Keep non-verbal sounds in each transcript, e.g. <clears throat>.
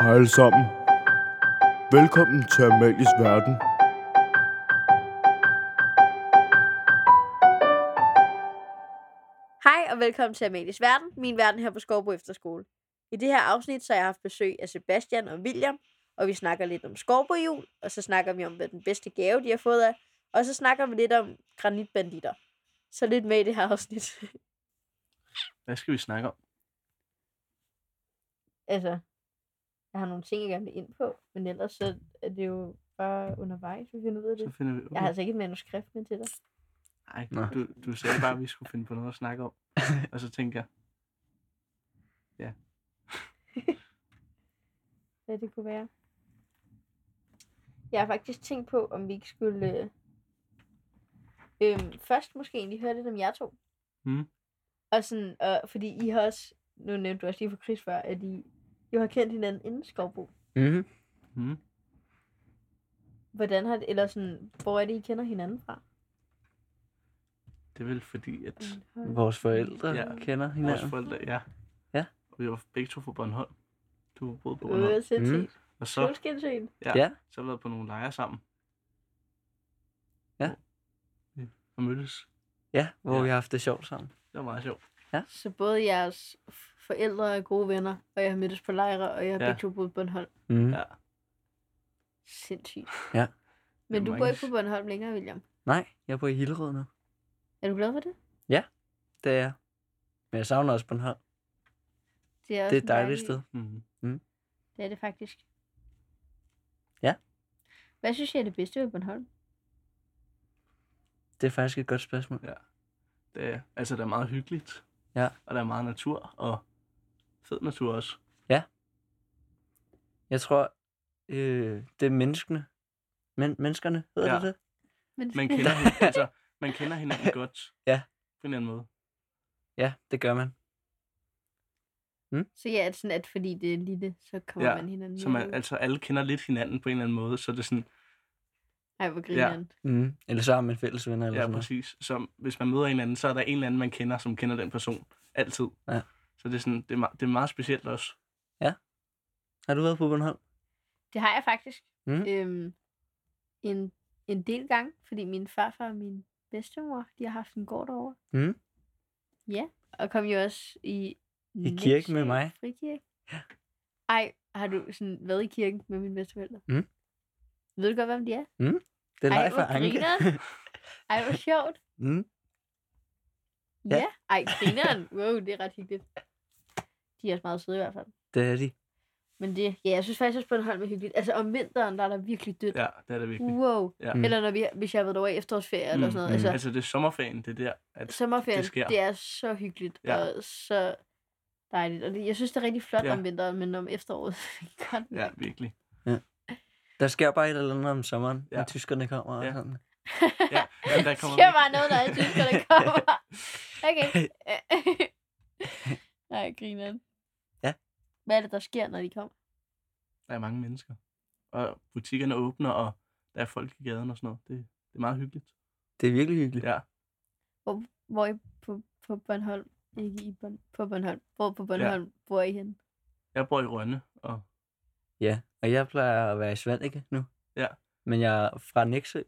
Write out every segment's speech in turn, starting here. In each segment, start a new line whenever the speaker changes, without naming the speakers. Hej alle sammen. Velkommen til Amalies Verden.
Hej og velkommen til Amalies Verden, min verden her på Skovbo Efterskole. I det her afsnit så har jeg haft besøg af Sebastian og William, og vi snakker lidt om skovbojul, og så snakker vi om, hvad den bedste gave, de har fået af, og så snakker vi lidt om granitbanditter. Så lidt med i det her <laughs> afsnit.
Hvad skal vi snakke om?
altså, jeg har nogle ting, jeg gerne vil ind på, men ellers så er det jo bare undervejs, vi finder ud af
Så
det.
finder vi ud
Jeg har altså ikke et manuskript med til dig.
Nej,
Nå.
du, du sagde bare, at vi skulle finde på noget at snakke om. Og så tænker jeg,
hvad det kunne være. Jeg har faktisk tænkt på, om vi ikke skulle... Øh, øhm, først måske egentlig høre lidt om jer to.
Mm.
Og sådan, og, fordi I har også... Nu nævnte du også lige for Chris før, at I jo har kendt hinanden inden Skovbo.
Mm-hmm.
hmm,
Hvordan har det, eller sådan, hvor er det, I kender hinanden fra?
det er vel fordi, at
Vores forældre
Ja.
ja. kender
Mm.
vores
hinanden.
forældre, ja.
Ja.
Og vi var begge to fra Bornholm. Du har boet på Bornholm.
Øh, sindssygt. Mm.
Og så,
Solskindsøen.
ja,
Ja.
så har vi været på nogle lejre sammen.
Ja.
Ja, Og mødtes.
Ja, hvor
Ja.
vi har haft det sjovt sammen.
Det var meget sjovt.
Så både jeres forældre er gode venner, og jeg har mødtes på lejre, og jeg har
Ja.
ja. begge to boet på Bornholm.
Mm.
Ja.
Sindssygt.
Ja.
Men
Det er
du bor
mange-
ikke på Bornholm længere, William.
Nej, jeg bor i Hillerød nu.
Er du glad for det?
Det er jeg. Men jeg savner også Bornholm.
Det er, også
Det er et
en
dejligt
dejlig-
sted.
Mm-hmm.
Det er det faktisk.
Ja.
Hvad synes jeg er det bedste ved Bornholm?
Det er faktisk et godt spørgsmål.
Det er, altså, det er meget hyggeligt.
Ja.
Og der er meget natur, og fed natur også.
Jeg tror, øh, det er menneskene. Men, menneskerne, hedder
Ja.
ja. det det?
Men, <laughs>
Man kender,
<laughs>
hinanden, altså, man kender hinanden godt.
Ja.
På en eller anden måde.
Ja, det gør man.
så ja, at sådan at fordi det er lille, så kommer
Ja,
man hinanden.
Så man, altså, alle kender lidt hinanden på en eller anden måde, så det er sådan,
Ej, hvor grineren.
Mm. Eller så har man fælles venner eller
ja,
sådan noget.
præcis. Så hvis man møder en eller anden, så er der en eller anden, man kender, som kender den person. Altid.
Ja.
Så det er, sådan, det, er, me- det er meget specielt også.
Har du været på Bornholm?
Det har jeg faktisk.
Mm.
Øhm, en, en del gange, fordi min farfar og min bedstemor, de har haft en gård derovre.
Mm.
Ja, og kom jo også i...
I kirke med
Nexø
mig.
Frikirke. Ej, har du sådan været i kirken med mine bedsteforældre?
Mm.
Ved du godt, hvem de er?
Det er
Ej,
Leif
hvor
og Anke.
grineren. Ej, hvor sjovt.
<laughs> mm.
Ja.
Ja.
ja. Ej, grineren. Wow, det er ret hyggeligt. De er også meget søde i hvert fald.
Det er de.
Men det, ja, jeg synes faktisk også, Bornholm er hyggeligt. Altså om vinteren, der er der virkelig dødt. Ja.
Ja, det er det virkelig.
Wow.
Ja.
Mm. Eller når vi, hvis jeg har været over i efterårsferie mm. eller sådan noget. Altså,
altså, det er sommerferien, Altså, det er der. At,
sommerferien,
det sker.
det, det er så hyggeligt
Ja.
ja. og så dejligt. Og det, jeg synes, det er rigtig flot
Ja.
ja. om vinteren, men om efteråret, <laughs> godt
ja, virkelig.
Der sker bare et eller andet om sommeren,
Ja.
ja. når tyskerne kommer og
Ja.
sådan.
Ja,
<laughs>
men der
kommer
kommer
Siger
virkelig-
bare noget, når alle
<laughs>
tyskerne kommer. Okay. <laughs> Nej, grineren.
Ja.
Hvad er det, der sker, når de kommer?
der er mange mennesker. Og butikkerne åbner, og der er folk i gaden og sådan noget. Det, det er meget hyggeligt.
Det er virkelig hyggeligt.
Ja,
Hvor I på, på Bornholm? Ikke i bon, på Bornholm. Hvor på Bornholm ja. bor I henne?
jeg bor i Rønne, og
Ja, og jeg plejer at være i Svanike nu.
Ja.
Men jeg er fra Næksø,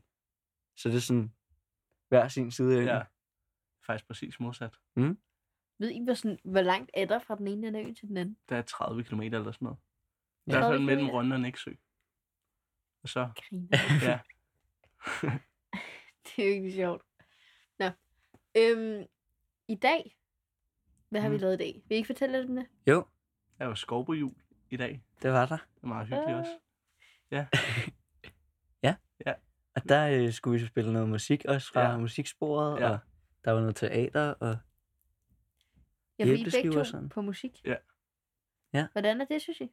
så det er sådan hver sin side af
ja,
ja.
faktisk præcis modsat.
Ved I, hvor, sådan, hvor langt er der fra den ene af øen til den anden?
Der er 30 km eller sådan noget.
Ja.
Der er
30
sådan mellem
kilometer.
Rønne og Næksø. Og så,
<laughs>
Griner.
ja,
det er jo ikke sjovt. Nå. Øhm, I dag? Hvad har vi
Mm.
lavet i dag? Vil I ikke fortælle lidt om det?
Jo,
der er jo skovbojul i dag.
det var der.
Det er meget hyggeligt
Øh.
også.
Og der øh, skulle vi spille noget musik også fra
Ja.
ja. musiksporet,
Ja.
ja. og der var noget teater, og
Jeg vil I er begge
Æbleskiver
to
og sådan.
på musik.
Ja.
Ja.
Hvordan er det, synes I?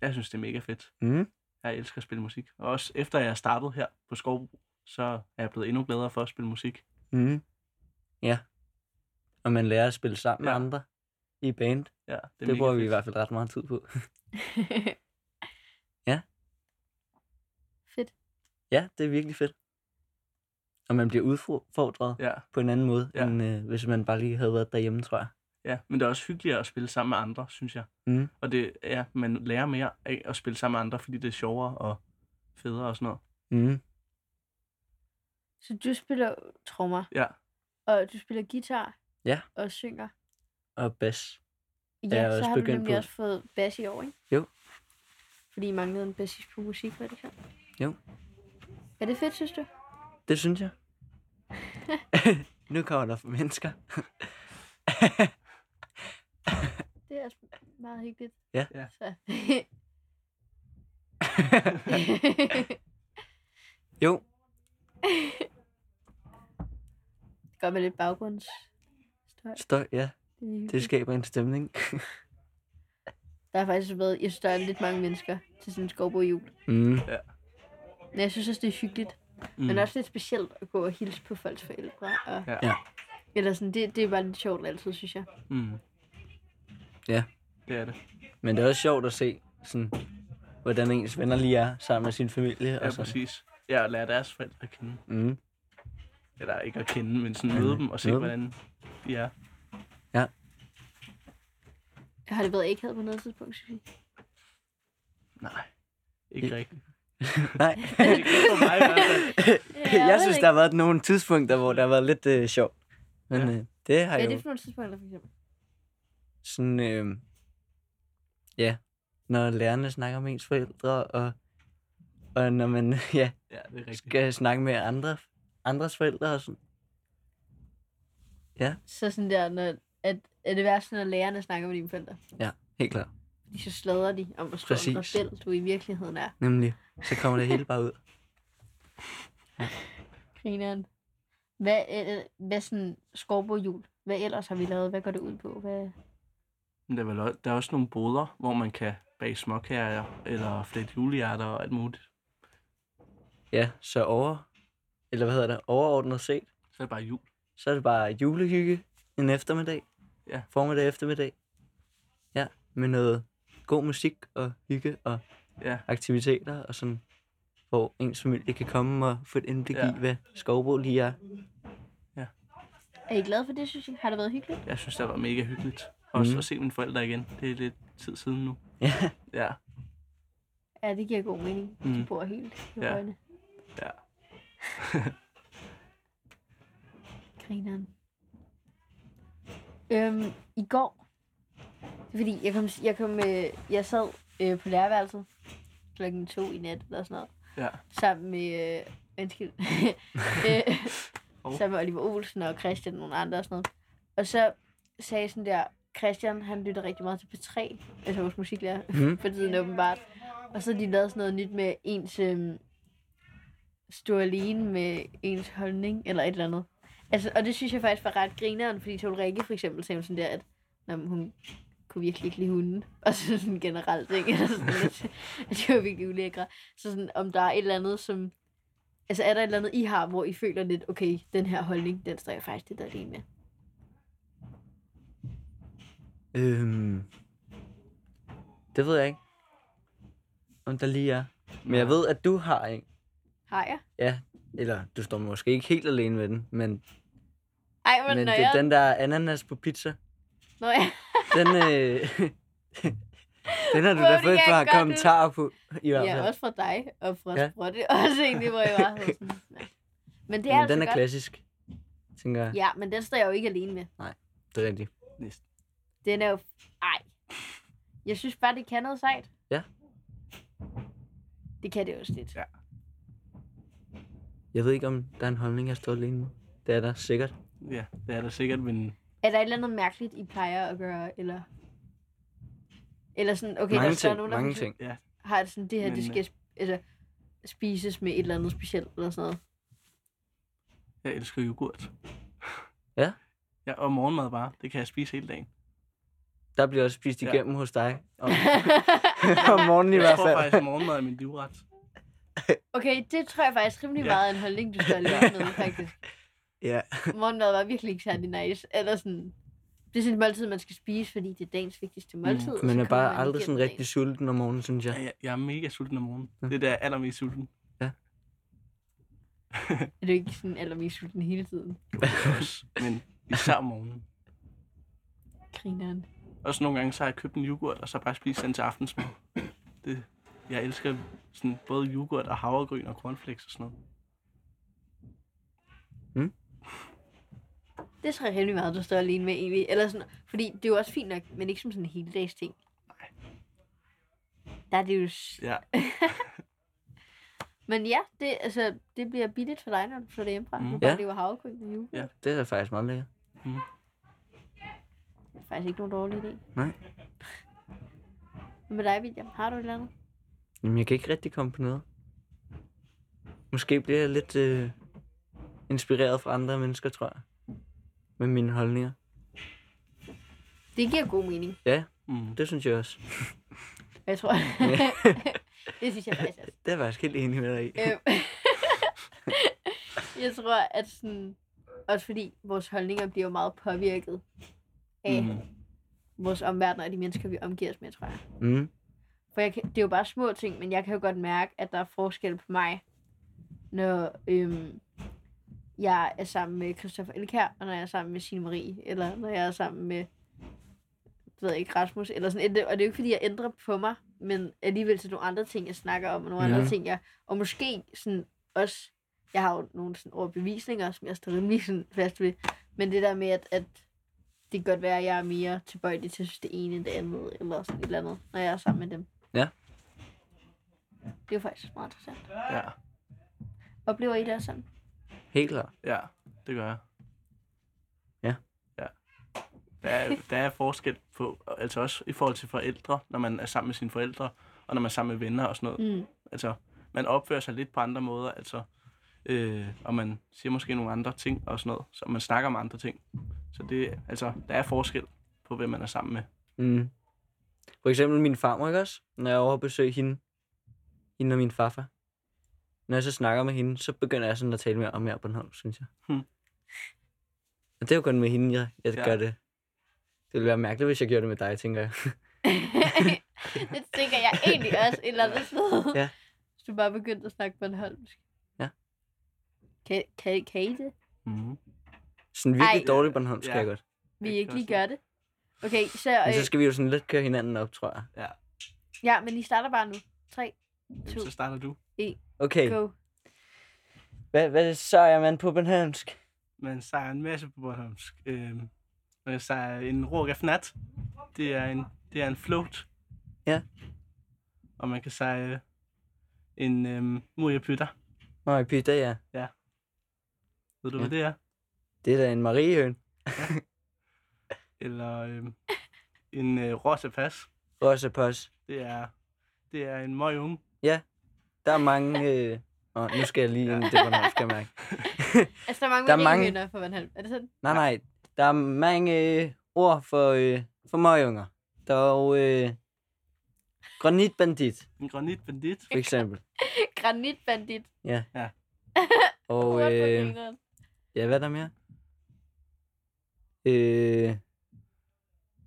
Jeg synes, det er mega fedt.
mm,
Jeg elsker at spille musik. Og også efter jeg startede her på Skovbro, så er jeg blevet endnu gladere for at spille musik.
mm, ja. Og man lærer at spille sammen
Ja.
med andre i band. Det,
Ja, det, er
det
mega
bruger vi i
fedt.
hvert fald ret meget tid på. <laughs> Ja.
<laughs> Fedt.
ja, det er virkelig fedt. Og man bliver udfordret ja.
Ja,
på en anden måde,
Ja.
ja. end øh, hvis man bare lige havde været derhjemme, tror jeg.
Ja, men det er også hyggeligere at spille sammen med andre, synes jeg.
Mm.
Og det ja, man lærer mere af at spille sammen med andre, fordi det er sjovere og federe og sådan noget.
Mm.
Så du spiller trommer,
Ja,
og du spiller guitar,
Ja.
og synger.
Og bas.
Ja,
jeg
så
også
har du
begyndt
nemlig
på.
også fået bass i år, ikke?
Jo.
Fordi I manglede en bassist på musik, var det så?
Jo.
Er det fedt, synes du?
Det synes jeg. nu kommer der mennesker. <laughs>
Det er altså meget hyggeligt.
Ja.
Ja.
Så. <laughs>
jo,
det gør med lidt baggrunds...
støj, ja. Det skaber en stemning. <laughs>
Der har faktisk været, jeg synes, der er lidt mange mennesker til sådan en skovbo jul.
mm.
Men jeg synes også, det er hyggeligt.
mm,
Mm. Men også lidt specielt at gå og hilse på folks forældre. Og...
Ja.
Ja.
Eller sådan, det, det er bare lidt sjovt altid, synes jeg.
mm.
Ja.
Det er det.
Men det er også sjovt at se, sådan, hvordan ens venner lige er sammen med sin familie.
Ja,
og sådan.
præcis. Ja, at lære deres forældre at kende. <laughs>
Mm.
Eller ikke at kende, men sådan
Men
møde dem og se,
møde dem.
hvordan de er.
Har det været akavet på noget tidspunkt,
<laughs>
synes jeg?
Nej, ikke
Ikke-
rigtigt.
Nej,
Ikke for mig i hvert fald.
jeg synes, der har været nogle tidspunkter, hvor der har været lidt øh, sjovt. Men
Ja.
øh, det har
Hvad er
jo
det for nogle tidspunkter, for eksempel?
sådan, øh, ja, når lærerne snakker med ens forældre, og, og når man <laughs> ja,
Ja, det er rigtigt.
skal snakke med andre, andres forældre og sådan.
Så sådan der, når, at, er det værst, når lærerne snakker med dine forældre?
Ja, helt klart.
Fordi så sladrer de om, hvor stor en
Præcis.
rebel du i virkeligheden er.
Nemlig, så kommer det hele bare
<laughs>
ud.
Grineren. Hvad, øh, hvad sådan skorbo jul? Hvad ellers har vi lavet? Hvad går det ud på? Hvad...
Men der er, vel også, der er også nogle boder, hvor man kan bage småkager eller flette julehjerter og alt muligt.
Ja, så over, eller hvad hedder det, overordnet set,
Så er det bare jul.
så er det bare julehygge en eftermiddag.
Ja.
Formiddag, eftermiddag. Ja, med noget god musik og hygge og
Ja,
aktiviteter og sådan, hvor ens familie kan komme og få et indblik
Ja.
ja. i, hvad skovbo lige er. <laughs>
Er I glade for det, synes jeg? Har det været hyggeligt?
jeg synes, det var mega hyggeligt. Også
Mhm.
at se mine forældre igen. Det er lidt tid siden nu.
Ja,
Ja,
Ja, det giver god mening. Mm.
Mm.
De bor helt i
Ja.
ja. øjne.
ja.
<laughs> Grineren. Øhm, I går, det er fordi, jeg, kom, jeg, kom, øh, jeg sad øh, på lærerværelset klokken to i nat, eller sådan noget,
ja.
sammen med, øh, undskyld, øh,
Hov.
sammen med Oliver Olsen og Christian og nogle andre og sådan noget. Og så sagde jeg sådan der, Christian, han lytter rigtig meget til P3, altså vores musiklærer, <laughs>
Mhm.
for tiden åbenbart. Og så har de lavet sådan noget nyt med ens øhm, stå alene med ens holdning, eller et eller andet. Altså, og det synes jeg faktisk var ret grineren, fordi til Ulrike for eksempel sagde hun sådan der, at "Nå, men hun kunne virkelig ikke lide hunden. <laughs> Og så sådan generelt, ikke? <laughs> Eller sådan lidt. det var virkelig ulækre. Så sådan, om der er et eller andet, som... Altså, er der et eller andet, I har, hvor I føler lidt, okay, den her holdning, den står jeg faktisk lidt alene med.
øhm, det ved jeg ikke, om der lige er. Men jeg ved, at du har en.
Har jeg?
Ja, eller du står måske ikke helt alene med den, men,
Ej, men,
men
når
det er
jeg...
den der ananas på pizza.
Når jeg...
Den, øh, <laughs> den har du
Wow,
da
det
fået
kan
et
jeg
par
godt
kommentarer på. I hvert
Ja,
fald.
også fra dig og fra ja.
Ja.
Sprotte. <laughs> Også egentlig, hvor jeg bare havde
<laughs>
sådan... "Nå." Men det er
men
altså
den er
godt.
klassisk, tænker jeg. Ja.
Ja, men den står jeg jo ikke alene med.
Det er rigtigt.
Næsten.
Den er jo... Ej. Jeg synes bare, det kan noget sejt.
Ja.
Det kan det også lidt.
Ja.
Jeg ved ikke, om der er en holdning, jeg står alene med. Det er der sikkert.
Ja, det er der sikkert, men
Er der et eller andet mærkeligt, I plejer at gøre, eller... Eller sådan, okay,
mange
der står
ting,
nogen, der
mange
for
ting.
har det sådan, det her,
Men,
det
øh,
skal sp- altså, spises med et eller andet specielt, eller sådan
<laughs>
noget.
jeg elsker yoghurt.
Ja.
Ja, og morgenmad bare. Det kan jeg spise hele dagen.
Der bliver også spist
Ja.
igennem ja. hos
<laughs>
dig. Om, om morgenen i
Jeg
hvert
tror
fald.
faktisk, at morgenmad er min livret.
Okay, det tror jeg faktisk rimelig
Ja.
ja. meget er en holdning, du står lige med, faktisk.
Ja.
Morgenmad var virkelig ikke særlig nice, eller sådan... Det er sådan et måltid, man skal spise, fordi det er dagens
Mm,
vigtigste måltid. og så
Man er
kommer
bare
man
aldrig
igennem
sådan rigtig sulten om morgenen, synes jeg.
Ja, jeg, jeg er mega sulten om morgenen. Det er der, jeg er allermest
<laughs>
sulten.
dagen. Er du ikke sådan allermest sulten hele tiden?
Også. Men især om morgenen.
Grineren.
Også nogle gange, så har jeg købt en yoghurt, og så bare spist den til aftensmad. Det, jeg elsker sådan både yoghurt og havregryn og cornflakes og sådan noget.
Det er så rimelig meget, du står alene med egentlig. Eller sådan, fordi det er jo også fint nok, men ikke som sådan en heldags ting. Der er det jo... s-
Ja,
Men ja, det, altså, det bliver billigt for dig, når du flytter hjemmefra.
Mm.
Mm. Du bare
Ja.
ja. lever havregryn og yoghurt.
Det er da faktisk meget lækkert.
Det er faktisk ikke nogen dårlig idé.
Nej.
Hvad med dig, William? Har du et eller andet?
Jamen, jeg kan ikke rigtig komme på noget. Måske bliver jeg lidt øh, inspireret fra andre mennesker, tror jeg. Med mine holdninger.
Det giver god mening.
Ja,
mm.
det synes jeg også.
Jeg tror, det synes jeg faktisk også.
Det er jeg faktisk helt enig med dig i.
Øhm, <laughs> jeg tror, at sådan, også fordi vores holdninger bliver jo meget påvirket af mm.
Mm.
vores omverden og de mennesker, vi omgiver os med, tror jeg.
Mm.
For jeg kan, det er jo bare små ting, men jeg kan jo godt mærke, at der er forskel på mig, når øhm, jeg er sammen med Christoffer Elkær, og når jeg er sammen med Signe Marie, eller når jeg er sammen med jeg ved ikke, Rasmus, eller sådan, et- og det er jo ikke, fordi jeg ændrer på mig, men alligevel til nogle andre ting, jeg snakker om, og nogle
Ja.
ja. andre ting, jeg, og måske sådan også, jeg har jo nogle sådan overbevisninger, som jeg står rimelig sådan fast ved, men det der med, at, at det kan godt være, at jeg er mere tilbøjelig til at synes det ene end det andet, eller sådan et eller andet, når jeg er sammen med dem.
Ja.
Det er jo faktisk meget interessant.
ja,
Oplever I det også sådan?
Helt klart.
ja, det gør jeg.
Ja.
Ja. Der er, der er forskel på, altså også i forhold til forældre, når man er sammen med sine forældre, og når man er sammen med venner og sådan noget.
Mm.
Altså, man opfører sig lidt på andre måder, altså, øh, og man siger måske nogle andre ting og sådan noget, så man snakker om andre ting. Så det, altså, der er forskel på, hvem man er sammen med.
Mm. For eksempel min farmor, ikke også? Når jeg er over at besøge hende, hende og min farfar. Når jeg så snakker med hende, så begynder jeg sådan at tale mere og mere Bornholm, synes jeg.
Hmm.
Og det er jo kun med hende, jeg, jeg
Ja.
ja. gør det. Det ville være mærkeligt, hvis jeg gjorde det med dig, tænker jeg.
<laughs> det tænker jeg egentlig også et eller andet sted.
<laughs> Ja.
Hvis du bare begyndte at snakke Bornholmsk.
Ja.
Kan, kan, kan I det?
Mm.
Sådan virkelig
Ej.
Ej. dårlig Bornholm, skal
Ja.
ja. jeg godt.
Vi
Det kan
ikke lige
også være.
gøre det? Okay, så... Øh,
Men så skal vi jo sådan lidt køre hinanden op, tror jeg.
Ja, men I starter bare nu. 3, 2,
Så starter du.
Okay,
go.
hvad, hvad så er man på Bornholmsk?
Man sejrer en masse på Bornholmsk. Øh, man sejrer en rågafnat. Det er en, det er en float.
Ja.
Og man kan sejre en øh, murjapytter.
Nå, i Pyda, ja.
Ved du,
Ja.
hvad det er?
Det er da en mariehøn.
Eller øh, en øh, rosapas.
Rosa Pos.
Det er, det er en møgunge.
Der er mange... Øh... Åh, nu skal jeg lige ind i det Bornholmsk, kan jeg mærke.
Altså, der er mange,
Der
der
er mange-
mange... for Bornholm. Er det sådan? <laughs>
Nej, nej. Der er mange øh, ord for, øh, for møgunger. Der er jo øh, granitbandit,
En granitbandit.
for eksempel.
Granitbandit.
Og
Hold hvor
øh,
grineren.
ja, hvad er der mere? Øh,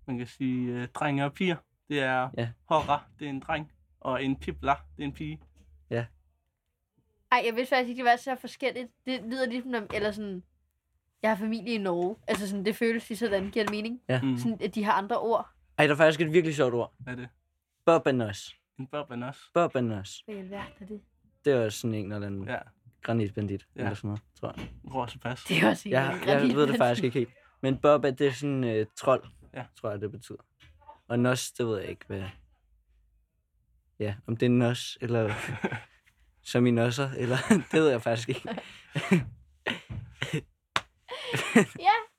Man kan sige øh, drenge og piger. Det er
Ja.
ja. horra, det er en dreng. Og en pipla, det er en pige.
Ej, jeg vidste faktisk ikke, det var så forskelligt. Det lyder ligesom, når, eller sådan, jeg har familie i Norge. Altså sådan, det føles lige sådan, giver det mening.
Mm.
Sådan, at de har andre ord.
ej, der er faktisk et virkelig sjovt ord.
Hvad er det?
Bobanos.
En bourbon også.
Bobanos.
Hvad i alverden er det?
Det er også sådan en eller anden ja.
Ja,
granitbandit,
Ja.
ja. eller sådan noget, tror jeg.
rosapas.
Det er også en
Jeg, jeg ved det faktisk ikke helt. Men Boba, det er sådan øh, trold,
Ja.
ja. tror jeg, det betyder. Og nos, det ved jeg ikke, hvad... Ja, om det er nos,
<laughs>
eller som i nosser, eller... <laughs> det ved jeg faktisk ikke.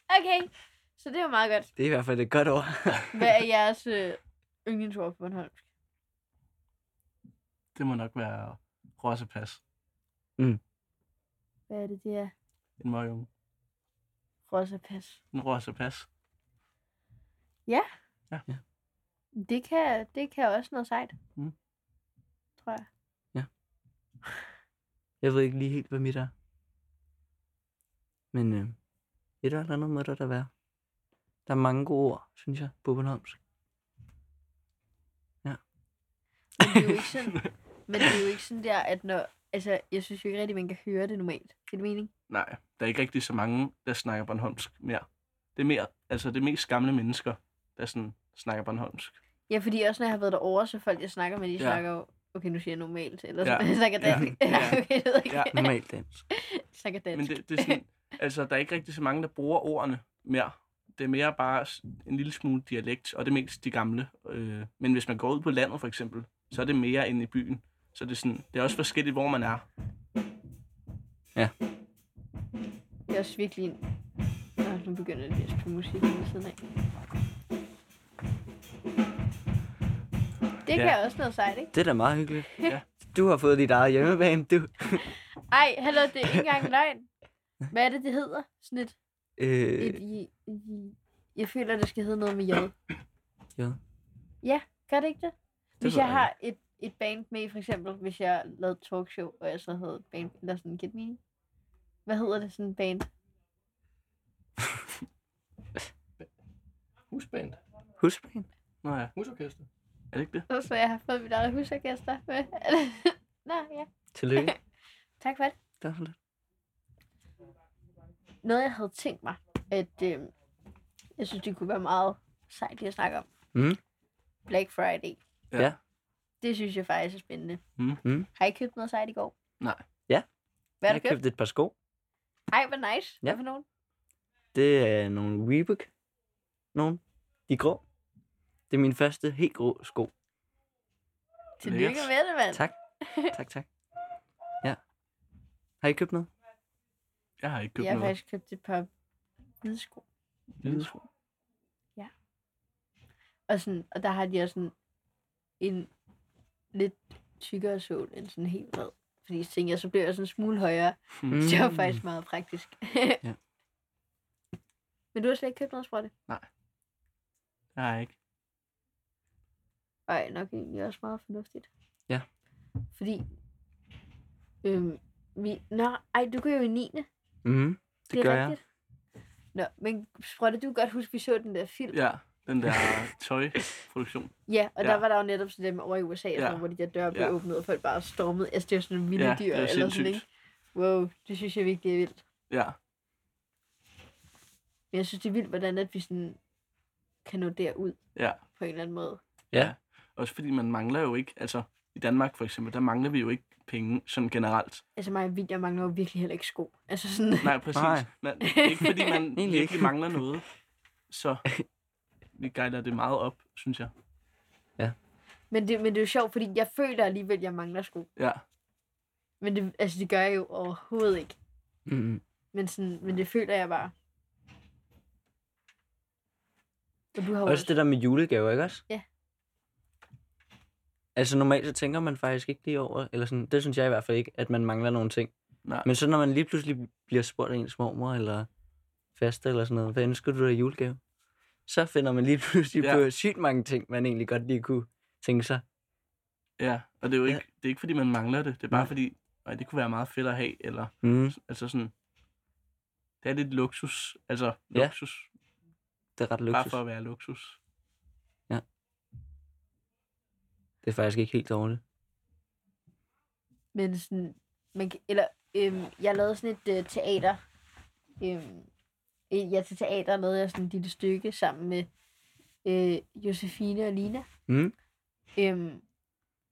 Okay, så det er jo meget godt.
Det er i hvert fald et godt ord.
Hvad er jeres øh, yndlingsord på Bornholm?
Det må nok være rosapas.
Hvad er det, det er?
En møgunge.
Rosapas.
En rosapas.
Det kan, det kan også noget sejt.
Mm.
Tror jeg.
Jeg ved ikke lige helt, hvad mit er. Men øh, et eller andet må der da være. Der er mange gode ord, synes jeg, på Bornholmsk.
Men det er jo ikke
<laughs>
sådan, men det er jo ikke sådan der, at når... Altså, jeg synes jo ikke rigtigt, man kan høre det normalt. Giver det mening?
Nej, der er ikke rigtig så mange, der snakker Bornholmsk mere. Det er mere, altså det er mest gamle mennesker, der sådan snakker Bornholmsk.
Ja, fordi også når jeg har været derovre, så folk, jeg snakker med, de ja.
Ja.
snakker jo... Okay, nu siger jeg normalt, eller
Ja.
sådan, jeg <laughs> snakker
Ja.
dansk.
Ja.
<laughs> okay, jeg ved ikke.
Ja.
Normalt dansk.
Jeg snakker dansk.
Men det, det er sådan, altså, der er ikke rigtig så mange, der bruger ordene mere. Det er mere bare s- en lille smule dialekt, og det er mest de gamle. Øh, men hvis man går ud på landet for eksempel, så er det mere end i byen. Så det er, sådan, det er også forskelligt, hvor man er.
Det er også virkelig en... Nå, nu begynder det at spille musik ved siden af. Det
Ja.
kan ja. også noget sejt, ikke?
Det er da meget hyggeligt.
Ja.
Du har fået dit eget hjemmebane, du.
Ej, hallo, det er ikke engang
<laughs>
løgn. Hvad er det, det hedder? Sådan et... et,
Øh,
i, i, jeg føler, det skal hedde noget med J.
J.
Ja, gør det ikke det? Hvis
ved
jeg
jeg
har et, et band med, for eksempel, hvis jeg lavede et talkshow, og jeg så havde et band, eller sådan, get me? Hvad hedder det sådan et band?
Husband.
husbane.
Nå ja,
Husorkester.
er det ikke det?
Så jeg har fået mit eget husorkester med. <laughs> Nå, ja.
Tillykke.
Tak for <laughs> det.
Det var så lidt.
noget, jeg havde tænkt mig, at øh, jeg synes, det kunne være meget sejt lige at snakke om.
Mm.
Black Friday.
Ja.
Ja.
Det synes jeg faktisk er spændende.
Mm.
Mm.
Har I købt noget sejt i går?
Nej.
Ja.
Hvad har du
jeg
købt?
købte et par sko.
Ej, hvor nice.
Ja.
Hvad for nogen?
Det er nogle Reebok. Nogle. De er grå. Det er min første helt
<laughs>
grå sko.
Tillykke med det, mand.
Tak. Tak, tak. Ja. Har I købt noget?
Jeg har ikke købt
Jeg har
noget.
faktisk købt et par hvide sko.
Hvide sko.
Og, sådan, og der har de også sådan en lidt tykkere sål end sådan helt bred. Fordi så tænkte jeg, så bliver jeg sådan en smule højere.
Mm.
Det var faktisk meget praktisk.
<laughs>
Ja.
Men du har slet ikke købt noget, Sprotte?
Jeg har ikke.
Ej, nok egentlig også meget fornuftigt.
Ja.
Fordi, øhm, vi... Nå, ej, du går jo i 9. Det,
Mm, det, det gør jeg.
Nå, men Sprotte, du kan godt huske, vi så den der film.
Ja, den der
<laughs>
tøjproduktion.
ja og der
Ja.
var der jo netop sådan dem over i USA,
Ja.
ja. hvor de der døre blev
Ja.
ja. åbnet, og folk bare stormede. Altså, det var sådan en vilde
Ja, det
dyr
er
eller sådan, ikke?
sindssygt.
Wow, det synes jeg virkelig er vildt.
Ja,
Men jeg synes, det er vildt, hvordan at vi sådan kan nå derud
ja.
på en eller anden måde.
Også fordi man mangler jo ikke, altså i Danmark for eksempel, der mangler vi jo ikke penge sådan generelt.
Altså mig og William mangler jo virkelig heller ikke sko. Altså sådan, <laughs>
Nej, præcis.
Nej.
Nej. Man, det er ikke fordi, man
<laughs> Egentlig
virkelig
ikke.
mangler noget.
<laughs>
Så vi gejler det meget op, synes jeg.
men, det, men det er jo sjovt, fordi jeg føler alligevel, at jeg mangler sko.
Ja,
Men det, altså, det gør jeg jo overhovedet ikke.
Mm,
Men, sådan, men det føler jeg bare. Og du har jo
også det der med julegaver, ikke også?
Ja.
Altså normalt så tænker man faktisk ikke lige over, eller sådan, det synes jeg i hvert fald ikke, at man mangler nogle ting.
nej.
Men så når man lige pludselig bliver spurgt af ens mormor, eller faste eller sådan noget, hvad ønsker du dig i julegave? Så finder man lige pludselig
Ja.
ja. på sygt mange ting, man egentlig godt lige kunne tænke sig.
Ja, og det er jo
Ja.
ikke, det er ikke fordi, man mangler det. Det er bare
Nej.
fordi, nej, det kunne være meget fedt at have, eller
Mm,
altså sådan, det er lidt luksus, altså
Ja,
luksus,
det er ret
bare
luksus.
for at være luksus.
Det er faktisk ikke helt dårligt.
Men sådan, man, kan- eller, øhm, jeg lavede sådan et øh, teater. Øhm, øh, ja, til teater lavede jeg sådan et lille stykke sammen med øh, Josefine og Lina.
Mm.
Øhm,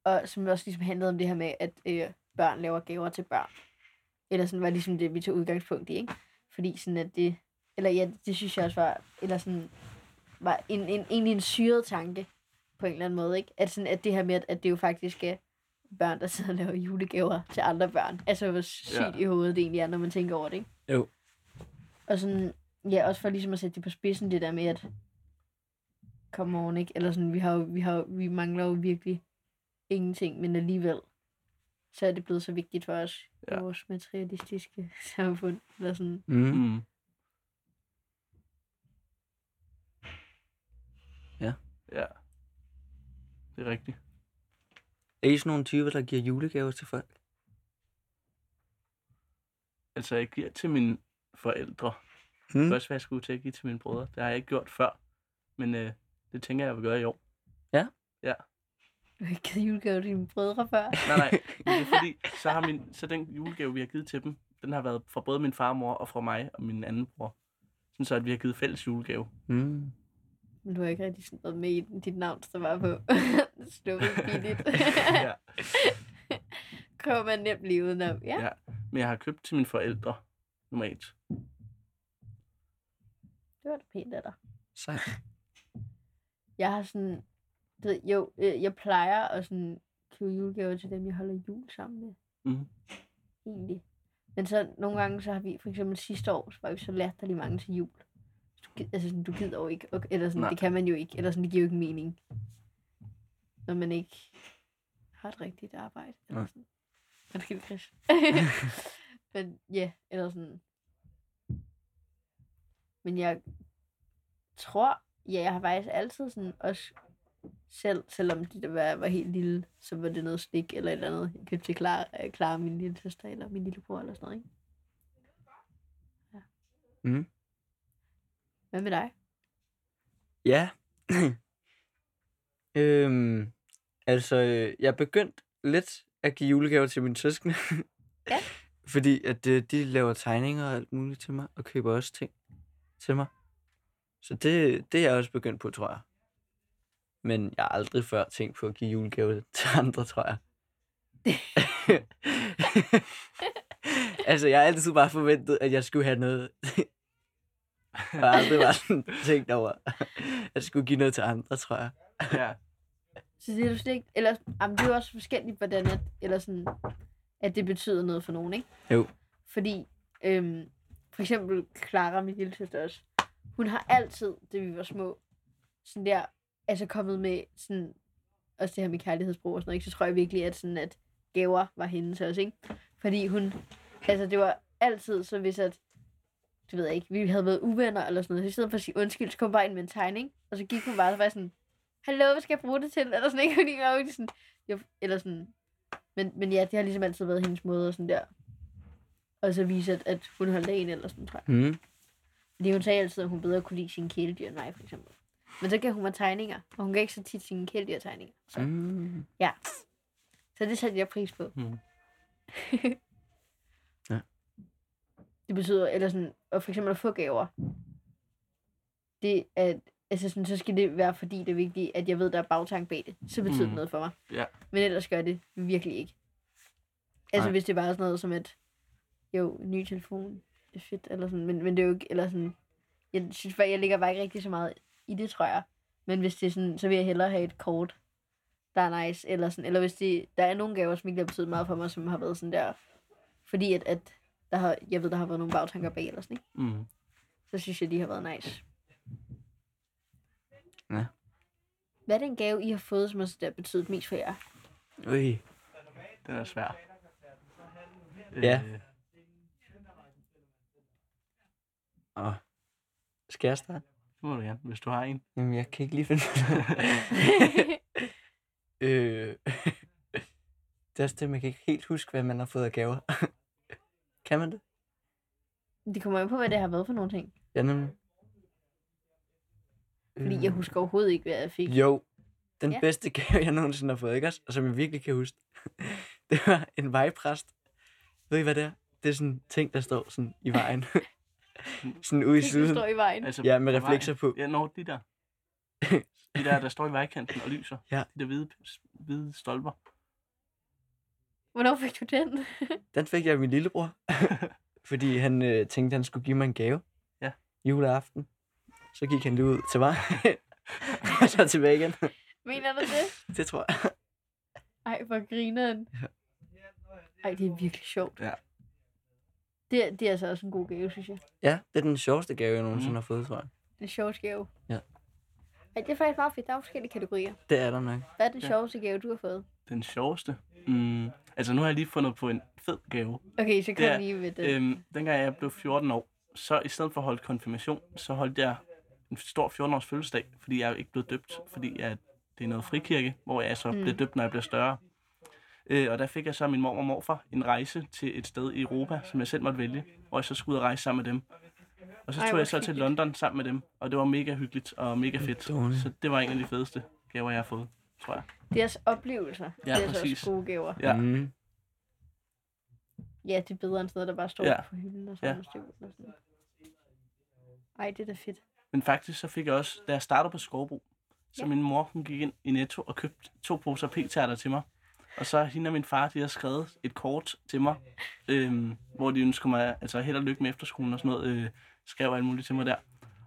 og som også ligesom handlede om det her med, at øh, børn laver gaver til børn. Eller sådan var ligesom det, vi tog udgangspunkt i, ikke? Fordi sådan, at det... Eller ja, det synes jeg også var... Eller sådan... Var en, en, egentlig en syret tanke på en eller anden måde, ikke? At, sådan, at det her med, at- at det jo faktisk er børn, der sidder og laver julegaver til andre børn. Altså, hvor sygt
Ja.
ja. i hovedet det egentlig er, når man tænker over det, ikke?
Jo.
Og sådan, ja, også for ligesom at sætte det på spidsen, det der med, at come on, ikke? Eller sådan, vi, har jo, vi, har, jo- vi mangler jo virkelig ingenting, men alligevel, så er det blevet så vigtigt for os ja.
Ja.
i vores materialistiske <laughs> samfund. Eller sådan.
Mm. Mm.
Mm.
Ja.
Ja. Det er rigtigt.
Er I sådan nogle typer, der giver julegaver til folk?
Altså, jeg giver til mine forældre.
Mm.
Mm. Først, hvad jeg skulle til at give til mine brødre. Det har jeg ikke gjort før. Men øh, det tænker jeg, jeg vil gøre i år.
Du har ikke givet julegave til dine brødre før.
Nej, nej.
<laughs>
Men det er fordi, så, har min, så den julegave, vi har givet til dem, den har været fra både min farmor og fra mig og min anden bror. Sådan så, at vi har givet fælles julegave.
Mm.
Men du har ikke rigtig sådan været med i den. dit navn, der var på. <laughs> Snuppet billigt.
<laughs> ja.
Kommer man nemt lige udenom. Ja.
Ja. Men jeg har købt til mine forældre,
<laughs>
normalt.
Det var da pænt af dig.
Sejt.
Jeg har sådan... Du ved, jo, øh, jeg plejer at sådan købe julegaver til dem, jeg holder jul sammen med.
Mhm.
Egentlig. Men så nogle gange, så har vi for eksempel sidste år, så var vi så latterlig mange til jul. Du, gid- altså, sådan, du gider jo ikke. Okay, eller sådan,
Nej.
det kan man jo ikke. Eller sådan, det giver jo ikke mening. Når man ikke har et rigtigt arbejde. Eller
Nej.
sådan. Undskyld, Chris. Men ja, eller sådan. Men jeg tror, ja, jeg har faktisk altid sådan også selv, selvom det der var, var helt lille, så var det noget slik eller et eller andet, jeg købte til Clara, øh, Clara min lille søster eller min lille bror eller sådan noget, ikke? Ja.
Mhm.
Hvad med dig?
Ja. <clears throat> øhm, altså, øh, jeg er begyndt lidt at give julegaver til mine søskende.
Ja.
<laughs> Fordi at øh, de laver tegninger og alt muligt til mig, og køber også ting til mig. Så det, det er jeg også begyndt på, tror jeg. Men jeg har aldrig før tænkt på at give julegaver <laughs> til andre, tror jeg. altså, jeg har altid bare forventet, at jeg skulle have noget jeg har aldrig bare sådan tænkt over, at jeg skulle give noget til andre, tror jeg.
ja.
Så det er du slet ikke, eller, jamen, det er jo også forskelligt, hvordan at, eller sådan, at det betyder noget for nogen, ikke?
Jo.
Fordi, øhm, for eksempel Clara, min lille søster også, hun har altid, da vi var små, sådan der, altså kommet med sådan, også det her med kærlighedsbrug og sådan noget, ikke? så tror jeg virkelig, at sådan, at gaver var hendes også, ikke? Fordi hun, altså det var altid, så hvis at, du ved jeg ikke, vi havde været uvenner eller sådan noget, så i stedet for at sige undskyld, så kom hun bare ind med en tegning, og så gik hun bare, så var jeg sådan, hallo, hvad skal jeg bruge det til? Eller sådan, ikke? <laughs> Fordi jeg var virkelig sådan, jo, eller sådan, men, men ja, det har ligesom altid været hendes måde og sådan der. Og så vise, at, at hun holdt af en eller sådan, tror jeg.
Mm.
Fordi hun sagde altid, at hun bedre kunne lide sine kæledyr end mig, for eksempel. Men så gav hun mig tegninger, og hun gav ikke så tit sine kæledyrtegninger. Så, mm.
Mm.
så det satte jeg pris på. <laughs>
Mm.
Ja.
Det betyder, eller sådan, og for eksempel at få gaver. Det er, altså sådan, så skal det være, fordi det er vigtigt, at jeg ved, der er bagtank bag det. Så betyder mm. det
Mm.
noget for mig.
Ja.
Men ellers gør det virkelig ikke. Altså
Nej.
hvis det bare er sådan noget som, at jo, ny telefon, det er fedt, eller sådan, men, men det er jo ikke, eller sådan, jeg synes bare, jeg ligger bare ikke rigtig så meget i det, tror jeg. Men hvis det er sådan, så vil jeg hellere have et kort, der er nice, eller sådan, eller hvis det, der er nogle gaver, som ikke har betydet meget for mig, som har været sådan der, fordi at, at der har, jeg ved, der har været nogle bagtanker bag, eller sådan, ikke?
Mm.
så synes jeg, de har været nice.
Ja.
Hvad er den gave, I har fået, som har sådan der betydet mest for
<laughs>
jer?
Ui.
Den er svær.
Ja.
Øh,
Åh. Skal jeg starte?
det må du gerne, hvis du har en.
Jamen, jeg kan ikke lige finde <laughs> øh. Det er også det, man kan ikke helt huske, hvad man har fået af gaver. kan man det?
Det kommer an på, hvad det har været for nogle ting.
Ja, nemlig.
Fordi jeg
Øh,
husker overhovedet ikke, hvad jeg fik.
Jo, den
Ja.
ja. bedste <laughs> gave, jeg nogensinde har fået, ikke også? Og som jeg virkelig kan huske, <laughs> det var en vejpræst. Ved I, hvad det er? Det er sådan en ting, der står sådan i vejen. <laughs> sådan ude i
Ting, der
siden.
står i vejen.
Altså,
Ja, med
på vejen.
reflekser på.
Ja, når de
<laughs>
der. De der, der står i vejkanten og lyser.
Ja.
De der hvide, hvide stolper.
Hvornår fik du den? <laughs>
Den fik jeg af min lillebror, <laughs> fordi han øh, tænkte, han skulle give mig en gave.
Ja.
Juleaften. Så gik han lige ud til mig. <laughs> og så tilbage igen. <laughs>
Mener du det?
Det tror jeg.
Ej, hvor grineren. Ej, det er virkelig sjovt.
Ja.
Det, er- det er altså også en god gave, synes jeg.
Ja, det er den sjoveste gave, jeg nogensinde
Mm.
har fået, tror jeg.
Den sjoveste gave.
Ja.
Ej, det er faktisk meget fedt. Der er forskellige kategorier.
Det er der nok.
Hvad er den
Ja.
sjoveste gave, du har fået?
Den sjoveste. Mm. Altså, nu har jeg lige fundet på en fed gave.
Okay, så kom
Det er-
lige med den.
Øhm, dengang jeg blev 14 år, så i stedet for at holde konfirmation, så holdt jeg en stor 14-års fødselsdag, fordi jeg er ikke blev døbt, fordi jeg, det er noget frikirke, hvor jeg så
Mm.
mm. blev døbt, når jeg blev større. Øh, og der fik jeg så min mor og morfar en rejse til et sted i Europa, som jeg selv måtte vælge, hvor jeg så skulle ud og rejse sammen med dem. Og så
Ej,
tog
hvor
jeg så til
hyggeligt.
London sammen med dem, og det var mega hyggeligt og mega fedt.
dårligt.
Så det var en af de fedeste gaver, jeg har fået, tror jeg.
Deres altså oplevelser.
Ja,
det er altså
præcis.
også gode gaver.
Ja.
Mm.
Ja, det er bedre end sådan noget, der bare står
Ja.
på hylden og
Ja.
sådan ja. noget. stykke eller sådan. Ej, det er da fedt.
Men faktisk så fik jeg også, da jeg startede på Skovbro, så min mor hun gik ind i Netto og købte to poser p-tærter til mig. Og så hende og min far, de har skrevet et kort til mig, øhm, hvor de ønskede mig, altså held og lykke med efterskolen og sådan noget, øh, skrev alt muligt til mig der.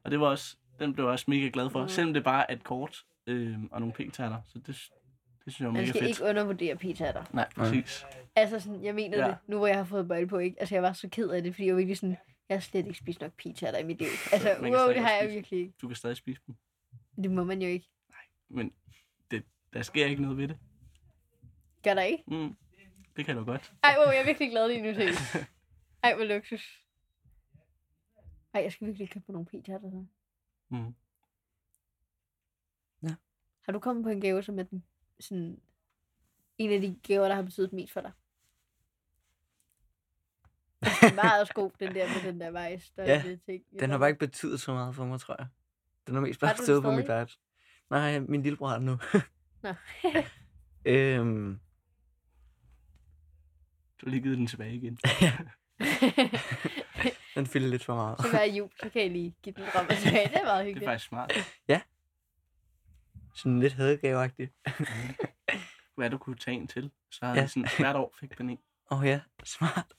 Og det var også, den blev jeg også mega glad for, mm. selvom det bare er et kort øhm, og nogle p-tærter. Så det, det synes jeg var
Man
mega
skal
fedt.
Altså, ikke undervurdere pitatter.
Nej, præcis.
Altså, sådan, jeg mener
Ja.
ja. det, nu hvor jeg har fået bøjle på, ikke? Altså, jeg var så ked af det, fordi jeg var virkelig sådan, jeg har slet ikke spist nok pizzaer i mit liv. Altså,
Man
wow,
kan stadig
det har
godt
jeg
spise.
virkelig ikke.
Du kan stadig spise dem,
Det må man jo ikke.
men det, der sker ikke noget ved det.
Gør der ikke?
Mm, det kan du godt.
Ej, wow, jeg er virkelig glad lige nu, til.
<laughs>
Ej, hvor luksus. Ej, jeg skal virkelig købe på nogle pizzaer, så.
Mm.
Har du kommet på en gave, som er den, sådan, en af de gaver, der har betydet mest for dig? Den er <laughs> meget også god, den der med den der vejs. Der
Ja,
er ligesom. lidt ting. i
Den
<laughs>
har bare ikke betydet så meget for mig, tror jeg. Den har mest
Har
bare
du den
stået på mit
stadig?
værelse. Nej, min lillebror har den nu.
Nå.
<laughs> øhm,
Du har lige givet den tilbage igen.
den fylder lidt for meget.
Så hver jul, så kan jeg lige give den rammer tilbage. Det er meget
<laughs> Det er
hyggeligt.
faktisk smart.
<laughs> Sådan lidt hadegaveagtig.
Hvad du kunne tage en til. Så har
Ja.
ja. sådan, hvert år fik man en.
Åh oh, ja, smart.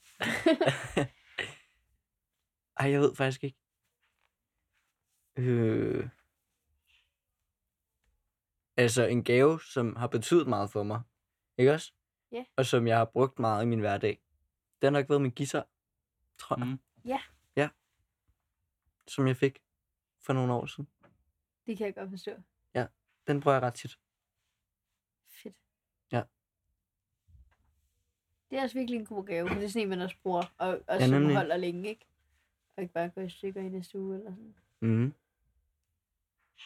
Ej, jeg ved faktisk ikke. Øh... Altså en gave, som har betydet meget for mig. Ikke også?
Ja.
Og som jeg har brugt meget i min hverdag. Det har nok været min guitar, tror jeg.
Mm.
Ja.
Ja. Som jeg fik for nogle år siden.
<laughs> Det kan jeg godt forstå.
Den bruger jeg ret tit.
Fedt.
Ja.
Det er også virkelig en god gave, for det er sådan en, man også bruger, og, og
Ja,
ja, som
nemlig.
holder længe, ikke? Og ikke bare går i stykker i næste uge eller sådan.
Mm.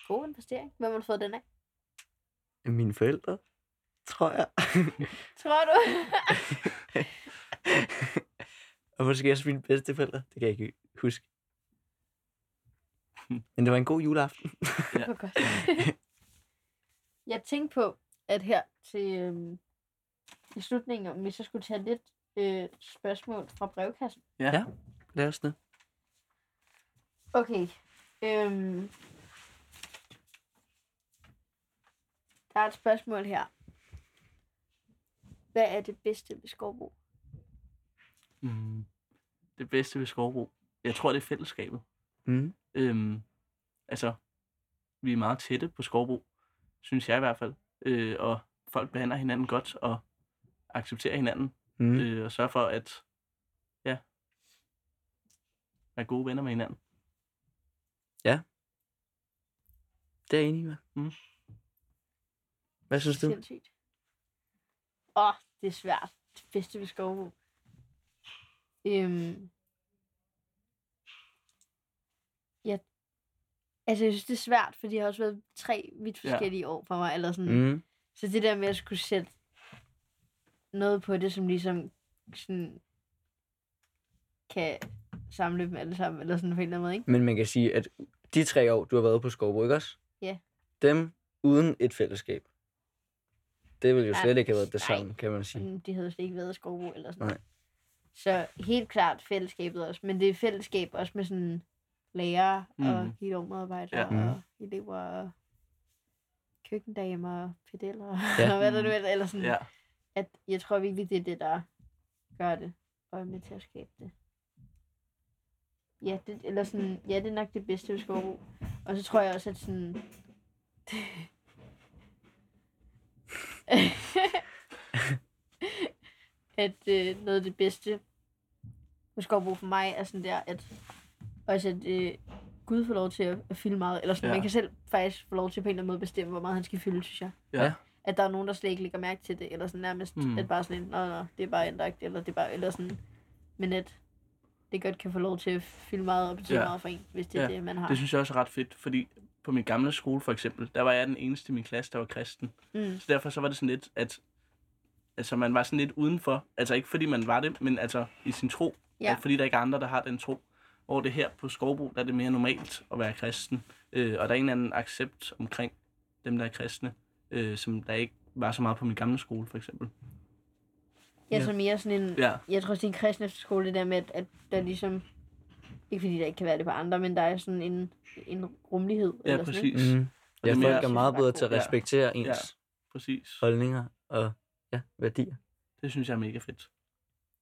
God investering. Hvem har du fået den af?
Mine forældre, tror jeg. <laughs>
Tror du?
og måske også mine bedsteforældre. Det kan jeg ikke huske. Men det var en god juleaften.
Det var godt. <laughs> jeg tænkte på, at her til øhm, i slutningen, om vi så skulle tage lidt øh, spørgsmål fra brevkassen.
Ja.
Ja.
ja.
Lad os det.
Okay. Øhm, der er et spørgsmål her. Hvad er det bedste ved skovbrug?
Mm. Det bedste ved Skovbro. Jeg tror, det er fællesskabet.
Mm.
Øhm, altså, vi er meget tætte på Skovbro, synes jeg i hvert fald. Øh, og folk behandler hinanden godt og accepterer hinanden.
Mm.
Mm. Øh, og sørger for, at ja, være gode venner med hinanden.
Det er jeg enig med.
Mm.
Hvad synes du?
Sindssygt. Åh, det er svært. Det bedste ved skovbrug. Øhm, jeg, altså, jeg synes, det er svært, fordi det har også været tre vidt
Ja.
forskellige ja. år for mig. Eller sådan.
Mm.
Så det der med at skulle sætte noget på det, som ligesom sådan kan samle dem alle sammen, eller sådan på en eller anden måde, ikke?
Men man kan sige, at de tre år, du har været på Skovbo, ikke også?
Ja.
Dem uden et fællesskab. Det ville jo
Ja,
slet ikke have været det
nej.
samme, kan man sige.
Sådan, de havde slet ikke været i skovbrug eller sådan
Nej.
Så helt klart fællesskabet også, men det er fællesskab også med sådan lærere mm. og
Mhm.
gildommedarbejdere
Ja.
ja.
Mhm.
og elever og køkkendamer og pedeller
Ja.
ja. og <laughs> hvad der nu er, eller sådan.
Ja.
at jeg tror virkelig, det er det, der gør det, og er med til at skabe det. Ja, det, eller sådan, ja, det er nok det bedste ved skovbrug. Og så tror jeg også, at sådan... <laughs> at øh, noget af det bedste ved skovbrug for mig er sådan der, at også at øh, Gud får lov til at, at fylde meget. Eller sådan,
Ja.
ja. man kan selv faktisk få lov til på en eller anden måde at bestemme, hvor meget han skal fylde, synes jeg
Ja.
at der er nogen, der slet ikke lægger mærke til det, eller sådan nærmest,
Mm.
mm. at bare sådan, en, nå, nå, det er bare andagt, eller det er bare, eller sådan, men at det godt kan få lov til at fylde meget og betyde
Ja.
ja. meget for en, hvis det er
Ja.
det, man har.
Det synes jeg også er ret fedt, fordi på min gamle skole for eksempel, der var jeg den eneste i min klasse, der var kristen.
Mm.
Så derfor så var det sådan lidt, at altså, man var sådan lidt udenfor. Altså ikke fordi man var det, men altså i sin tro.
Ja.
Altså, fordi der ikke er andre, der har den tro. Hvor det her på Skovbo, der er det mere normalt at være kristen. Øh, og der er en eller anden accept omkring dem, der er kristne, øh, som der ikke var så meget på min gamle skole for eksempel.
Jeg er så mere sådan en,
Ja,
jeg tror, det er en kristen efterskole, det der med, at, at der ligesom Ikke fordi der ikke kan være det på andre, men der er sådan en, en rummelighed.
Ja,
sådan,
præcis.
Mm.
det
Ja,
er
folk
mere-
er meget bedre til at
Ja.
respektere ens
Ja. Præcis.
holdninger og ja, værdier.
Det synes jeg er mega fedt.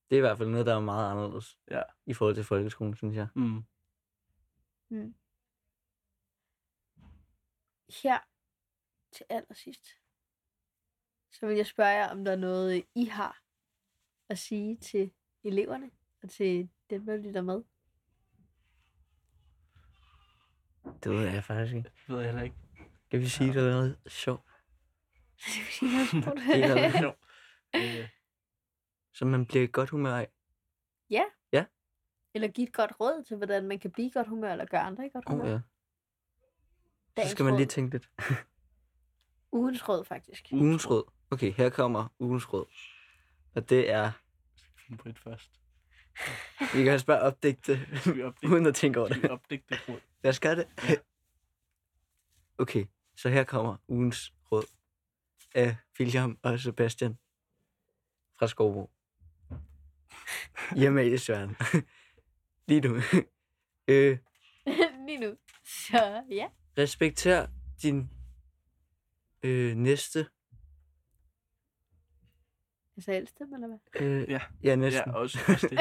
Det er i hvert fald noget, der er meget anderledes
Ja.
i forhold til folkeskolen, synes jeg.
Mm.
her til allersidst, så vil jeg spørge jer, om der er noget, I har at sige til eleverne og til dem, der lytter med.
Det ved jeg faktisk ikke.
Det ved jeg heller ikke.
Kan vi sige, at det er noget sjovt?
<laughs> Det
<laughs> Det er noget
Jo. Øh,
som man bliver i godt humør af.
<laughs> Eller give et godt råd til, hvordan man kan blive i godt humør, eller gøre andre i godt humør.
Oh, ja. Så
Dagens
skal man lige Mm.
råd.
tænke lidt.
Ugens råd, faktisk.
Ugens råd. Okay, her kommer ugens råd. Og det er,
Finde på et først.
vi kan også bare opdigte, <laughs>
Skal vi opdække,
uden at tænke over
skal
det.
vi opdække det råd?
Lad os gøre det.
Ja.
<laughs> Okay, så her kommer ugens råd af William og Sebastian fra <laughs> Skovbo. Hjemme i Søren. <laughs> Lige nu. <laughs> øh,
<laughs> lige nu. Så ja.
respekter din øh, næste.
Altså helst dem, eller hvad? <laughs>
Øh,
Ja.
ja,
Ja,
næsten. Ja,
også, også det.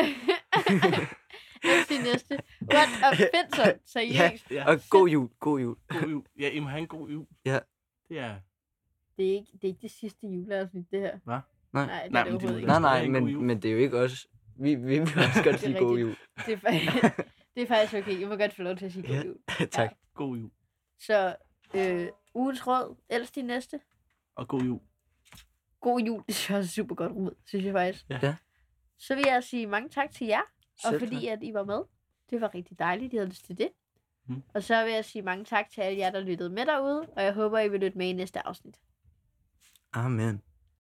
Det er næste. What
<laughs>
a findsom, seriøst.
Ja.
<laughs> og god jul, god jul.
God jul. Ja, I må have en god jul.
Ja.
Det er...
Det, er ikke, det er ikke det sidste juleafsnit, det her.
Hva?
Nej.
Nej, det
Nej,
er det
men det er
overhovedet
jo-
ikke.
Nej,
Ja,
nej,
en god jul.
men, men det er jo ikke os. Vi, vi vil også godt sige god jul.
Det er, fa- <laughs> det er faktisk okay. I må godt få lov til at sige
Ja.
god jul.
tak.
God jul.
Så øh, ugens råd, ellers de næste.
Og god jul.
God jul, det er også super godt råd, synes jeg faktisk.
Ja.
Ja.
Så vil jeg sige mange tak til jer, og
Selv
fordi at I var med. Det var rigtig dejligt, I havde lyst til det.
Mm.
Og så vil jeg sige mange tak til alle jer, der lyttede med derude, og jeg håber, I vil lytte med i næste afsnit.
tak. Amen.